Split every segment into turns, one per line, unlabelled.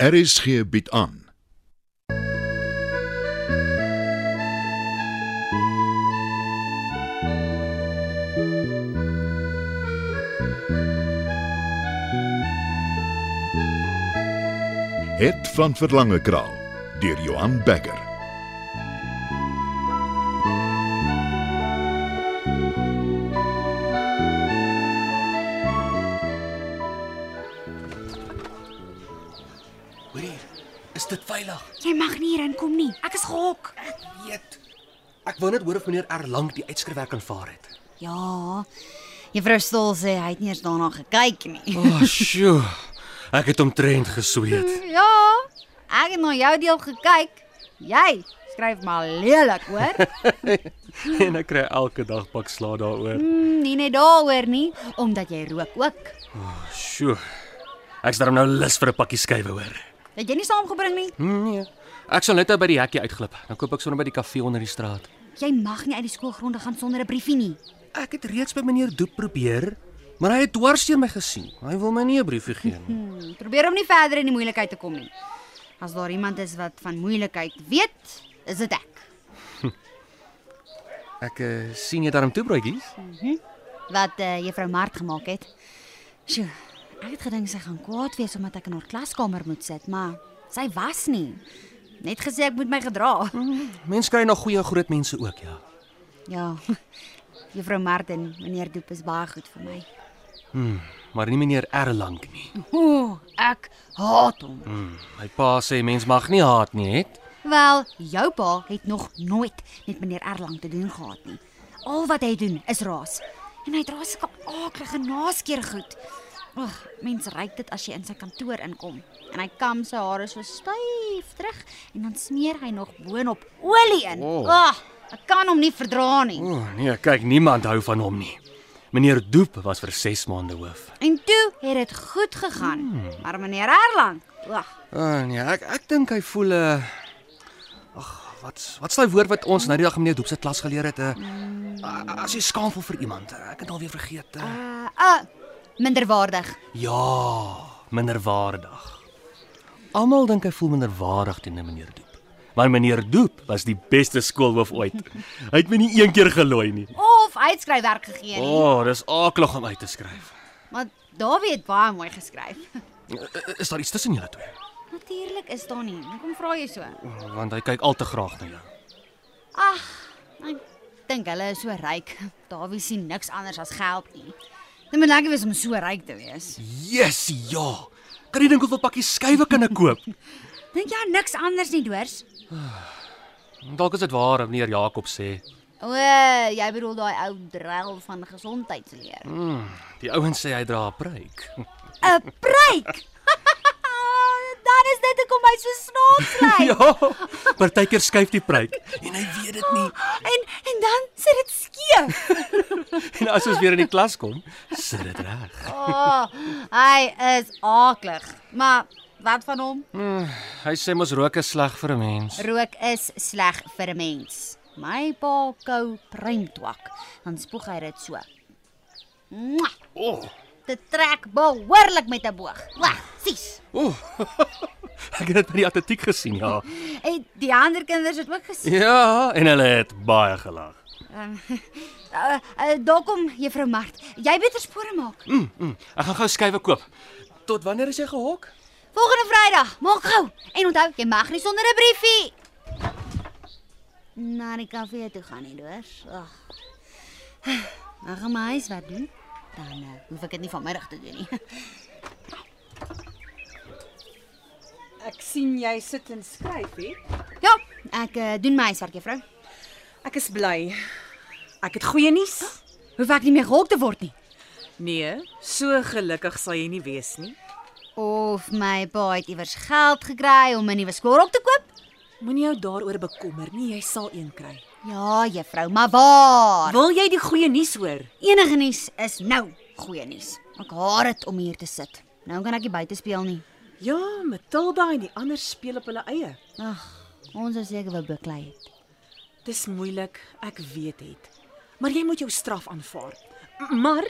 RSG bied aan. Het van Verlange Kraal deur Johan Becker.
Hoor hier. Is dit veilig?
Jy mag nie hierin kom nie. Ek is gehok.
Weet. Ek wou net hoor of meneer Erlang die uitskrifwerk aanvaar het.
Ja. Juffrou Stoel sê hy het nie eens daarna gekyk nie.
O, oh, sjoe. Ek het omtrent gesweet.
Ja. Ek het na jou deel gekyk. Jy skryf maar lelik, hoor?
en ek kry elke dag pak sla daaroor.
mm, nie net daaroor nie, omdat jy rook ook.
Sjoe. Ek's darm nou lus vir 'n pakkie skuwe hoor.
Het jy nie saamgebring nie?
Nee. Ek sal net ou by die hekkie uitglip. Dan koop ek sommer by die kafee onder die straat.
Jy mag nie uit die skoolgronde gaan sonder 'n briefie nie.
Ek het reeds by meneer Doep probeer, maar hy het dwarsteer my gesien. Hy wil my nie 'n briefie gee nie.
Hmm, probeer om nie verder in die moeilikheid te kom nie. As daar iemand is wat van moeilikheid weet, is dit ek.
Ek uh, sien jy darm toe broodjies?
wat eh juffrou Mart gemaak het. Sjoe, ek het gedink sy gaan kwaad wees omdat ek in haar klaskamer moet sit, maar sy was nie. Net gesê ek moet my gedra.
Mense kry nog goeie groot mense ook, ja.
Ja. Juffrou Mart en meneer Doep is baie goed vir my.
Maar nie meneer Erlang nie.
Ooh, ek haat hom.
Hmm, my pa sê mens mag nie haat nie, het?
Wel, jou pa het nog nooit met meneer Erlang te doen gehad nie. Al wat hy doen is raas. En hy dra sulke aaklige naskeer goed. Ag, mens ruik dit as jy in sy kantoor inkom. En hy kam sy hare so styf terug en dan smeer hy nog boonop olie in.
O.
Ag, ek kan hom nie verdra nie.
O oh, nee, kyk, niemand hou van hom nie. Meneer Doep was vir 6 maande hoof.
En toe het dit goed gegaan. Maar meneer Erlang, ag,
O oh, nee, ek ek dink hy voel 'n uh, Ag, wat's wat's daai woord wat ons nou die dag in meneer Doep se klas geleer het? 'n uh, As jy skaam voel vir iemand. eh, Ek het alweer vergeet. Uh,
uh, uh, minderwaardig.
ja, minderwaardig. Almal dink hy voel minderwaardig teenoor meneer Doep. Maar meneer Doep was die beste skoolhoof ooit. hy het my nie een keer gelooi nie.
Of uitskryfwerk gegee
O,
Nee, nie.
oh, dis aaklig om uit te skryf.
Maar Dawie het baie mooi geskryf.
Eh, Is daar iets tussen julle twee?
Natuurlik is daar nie. Hoekom vra jy so?
Want hy kyk al te graag na jou.
Ag, ek dink hulle is so ryk. Dawie sien niks anders as geld nie. Dit moet lekker wees om so ryk te wees.
Yes, ja. Kan jy dink hoeveel pakkies skuwe kan ek koop?
Dink jy aan niks anders nie, Doors?
Dalk is dit waar, meneer Jakob sê.
O, jy bedoel daai ou drel van gesondheidsleer.
Die ouens sê hy dra 'n pruik.
'n Pruik. Dan is dit hoekom hy so snaaks lyk.
ja. Partykeer skuif die pruik en hy weet dit nie.
En en dan sit dit skeef.
En as ons weer in die klas kom, sit dit reg.
O, oh, hy is aaklig. Maar wat van hom?
Hy sê mos rook is sleg vir 'n mens.
Rook is sleg vir 'n mens. My pa kou pruimtwak, dan spoeg hy dit so. Mwah!
O. Oh,
Dit trek behoorlik met 'n boog. Wag, sies.
o. Oh. ek het dit by die atletiek gesien, ja.
En die ander kinders het ook gesien.
Ja, en hulle het baie gelag.
Ehm uh, uh, daar kom juffrou Mart. Jy beter spore maak.
Mm, mm. Ek gaan gou skuwe koop. Tot wanneer is jy gehok?
Volgende Vrydag, maak gou. En onthou, jy mag nie sonder 'n briefie na die kafee toe gaan nie, dors. Ag. Nou gaan my huis wat doen. Dan uh, hoef ek dit nie vanmiddag te doen nie.
Ek sien jy sit en skryf, hè?
Ja, ek uh, doen my huiswerk, juffrou.
Ek is bly. Ek het goeie nuus.
Hoef ek nie meer gehok te word nie.
Nee, so gelukkig sal jy nie wees nie.
Of my pa het iewers geld gekry om 'n nuwe skoolrok te koop?
Moenie jou daaroor bekommer nie, jy sal een kry.
Ja, juffrou, maar waar?
Wil jy die goeie nuus hoor?
Enige nuus is nou goeie nuus. Ek haat dit om hier te sit. Nou kan ek nie buite speel nie.
Ja, Matilda en die ander speel op hulle eie.
Ag, ons is seker wel beklei het.
Dis moeilik, ek weet dit. Maar jy moet jou straf aanvaar. M- Maar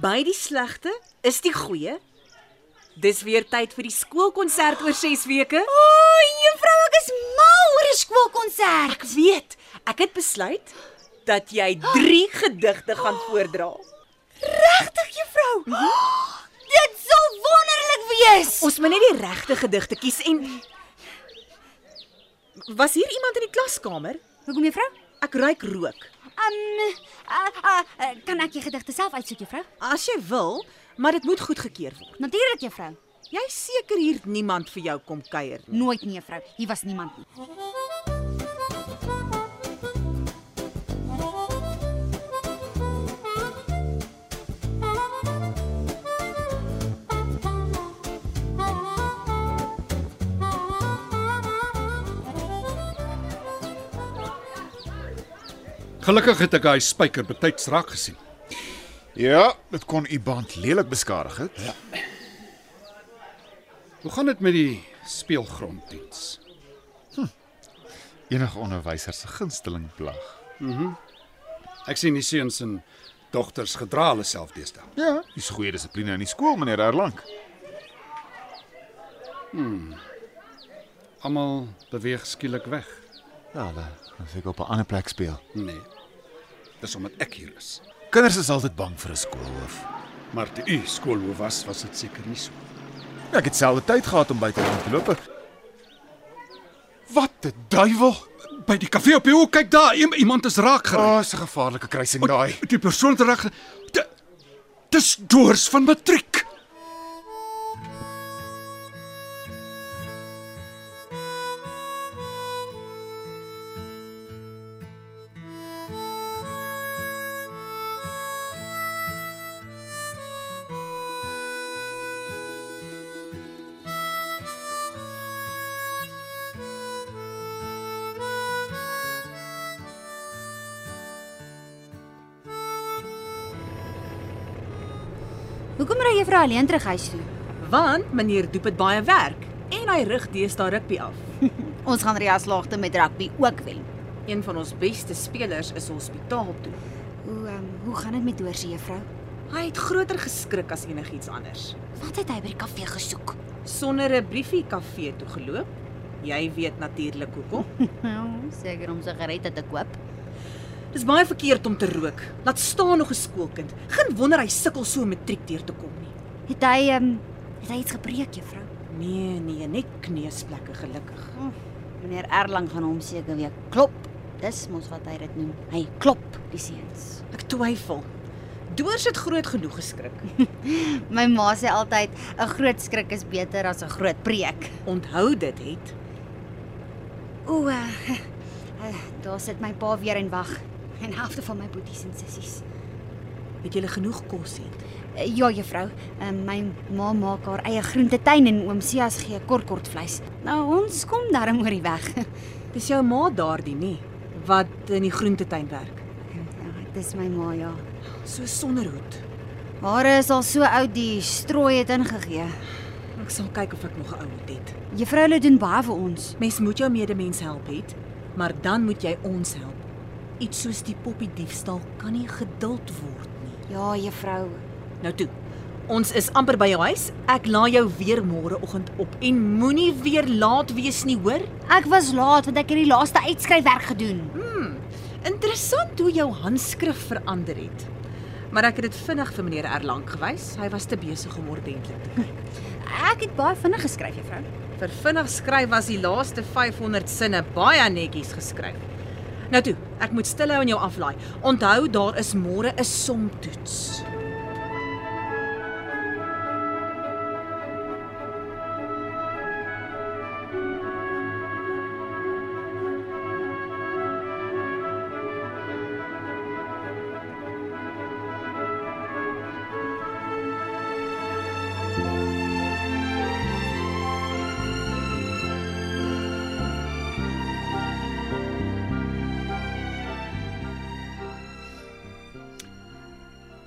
by die slegte is die goeie.
Dis weer tyd vir die skoolkonsert oor 6 weke.
O, oh, juffrou, ek is mal oor 'n skoolkonsert.
Ek weet, ek het besluit dat jy 3 gedigte gaan voordra.
Regtig, juffrou? Mhm. Dit sal wonderlik wees.
Ons moet net die regte gedigte kies en Was hier iemand in die klaskamer?
Hoekom, juffrou?
Ek ruik rook.
Ehm, uh, uh, uh, kan ek die gedigte self uitsoek, juffrou?
As jy wil, maar dit moet goedgekeur word.
Natuurlik, juffrou.
Jy is seker hier niemand vir jou kom kuier nie.
Nooit nie, juffrou. Hier was niemand nie.
Gelukkig het ek daai spyker betyds raak gesien.
Ja, dit kon u band lelik beskadig het. Ja.
Hoe gaan dit met die speelgronddiens?
Enige onderwyser se gunsteling plag.
Ek sien die seuns en dogters gedra hulle self deesdae.
Ja, dis goeie dissipline in die skool, meneer Erlang.
Almal beweeg skielik weg.
Ja, hulle kan seker op 'n ander plek speel.
Nee. Dis omdat ek hier is.
Kinders is altyd bang vir 'n skoolhoof.
Maar toe u skoolhoof was, was dit seker nie so.
Ja, Ek het selde tyd gehad om buite rond te loop. Wat 'n duiwel!
By die kafee op die hoek, kyk daar, iem- iemand is raak geraak.
Oh, 'n gevaarlike kruising daai.
die persoon het reg. di- Dis doors van matriek.
Hoekom ry juffrou alleen terug huis toe?
Want meneer Doep het baie werk en hy rig deesdae rugby af.
Ons gaan Ria slaagte met rugby ook wen.
Een van ons beste spelers is hospitaal toe.
Hoe ehm um, hoe gaan dit met Dorsie juffrou?
Hy het groter geskrik as enigiets anders.
Wat het hy by die kafee gesoek?
Sonder 'n briefie kafee toe geloop. Jy weet natuurlik hoekom.
Nou, seker om sigarette te koop.
Dis baie verkeerd om te rook. Laat staan nog 'n skoolkind. Geen wonder hy sukkel so om matriek deur te kom nie.
Het hy ehm um, het hy iets gebreek juffrou?
Nee, nee, net kneusplekke gelukkig.
Meneer Erlang gaan hom seker weer klop. Dis mos wat hy dit noem. Hy klop die seuns.
Ek twyfel. Doors het groot genoeg geskrik.
My ma sê altyd 'n groot skrik is beter as 'n groot preek.
Onthou dit het.
Ooh. Uh, uh, daar sit my pa weer en wag. En helfte van my boeties en sissies.
Het jy genoeg kos het?
Uh, ja juffrou, uh, my ma maak haar eie groentetuin en oom Sias gee kortkort vleis. Nou ons kom darm oor die weg. Ja,
Dis jou ma daardie nie wat in die groentetuin werk.
ja, dis my ma ja.
So sonder hoed.
Hare is al so oud die strooi het ingegee.
Ek sal kyk of ek nog 'n ou hoed het.
Juffrou hulle doen baie vir ons.
Mens moet jou medemens help het, maar dan moet jy ons help. Iets soos die poppie diefstal kan nie geduld word nie.
Ja, juffrou.
Nou toe. Ons is amper by jou huis. Ek laai jou weer môre oggend op en moenie weer laat wees nie, hoor?
Ek was laat want ek het die laaste uitskryfwerk gedoen.
Interessant hoe jou handskrif verander het. Maar ek het dit vinnig vir meneer Erlang gewys. Hy was te besig om ordentlik te kyk.
Ek het baie vinnig geskryf, juffrou.
Vir vinnig skryf was die laaste 500 sinne baie netjies geskryf. Nou toe, ek moet stilhou en jou aflaai. Onthou daar is môre 'n somtoets.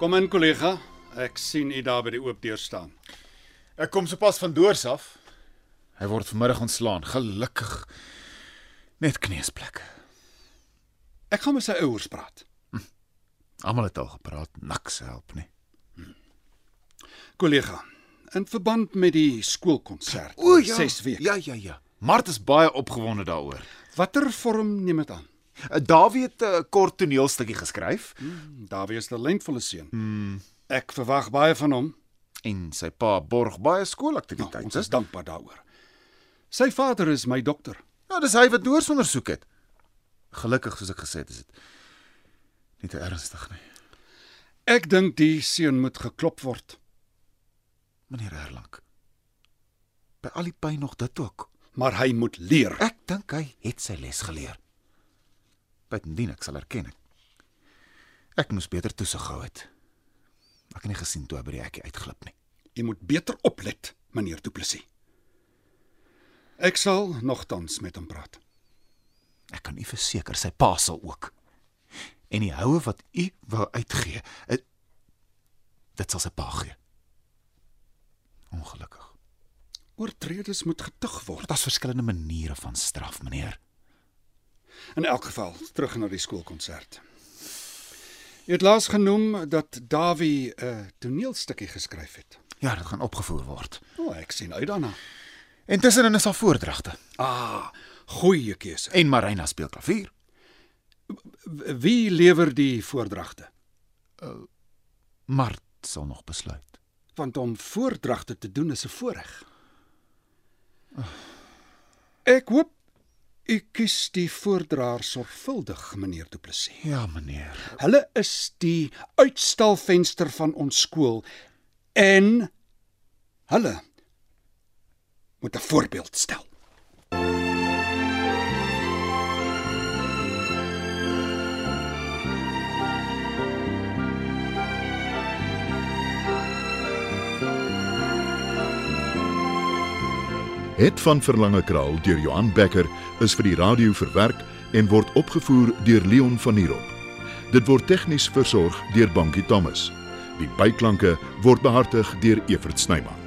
Kom in kollega, ek sien u daar by die oop deur staan.
Ek kom sopas van Doors af. Hy word vanmiddag ontslaan, gelukkig. Net kneusplek.
Ek gaan met sy ouers praat.
Almal het al gepraat, niks help nie.
Kollega, In verband met die skoolkonsert.
O ja.
6 weke.
Ja, ja, ja. Mart is baie opgewonde daaroor.
Watter vorm neem dit aan?
Uh, Dawie het 'n uh, kort toneelstukkie geskryf
Hmm, Dawie is 'n talentvolle seun. Ek verwag baie van hom. Nou,
en sy pa borg baie skoolaktiwiteite.
Ons is dankbaar daaroor. Sy vader is my dokter.
Ja, dis hy wat doorsondersoek het. Gelukkig soos ek gesê het, is dit nie te ernstig nie.
Ek dink die seun moet geklop word,
Meneer Erlang. By al die pyn nog dit ook.
maar hy moet leer.
Ek dink hy het sy les geleer. Buitendien ek sal erken ek. Ek moes beter toesig gehou het. Ek het nie gesien toe hy by die hekkie uitglip nie.
Jy moet beter oplet, meneer Du Plessis. Ek sal nogtans met hom praat.
Ek kan u verseker sy pa sal ook. En die houe wat u wou uitgee, het, dit sal sy pa gee. Ongelukkig.
Oortredes moet getuig word.
Daar's verskillende maniere van straf, meneer.
In elk geval, terug na die skoolkonsert. Jy het laas genoem dat Dawie 'n toneelstukkie geskryf het.
Ja, dit gaan opgevoer word.
O, oh, ek sien uit daarna.
En tussenin is daar voordragte.
Ah, goeie keuse.
En Marina speel klavier.
Wie lewer die voordragte?
Mart sal nog besluit.
want om voordragte te doen is 'n voorreg. Ek hoop u kies die voordraer sorgvuldig, meneer Du Plessis.
Ja, meneer.
Hulle is die uitstalvenster van ons skool en hulle moet 'n voorbeeld stel.
Het van Verlange Kraal deur Johan Becker is vir die radio verwerk en word opgevoer deur Leon Van Heerop. Dit word tegnies versorg deur Bankie Thomas. Die byklanke word behartig deur Evert Snyman.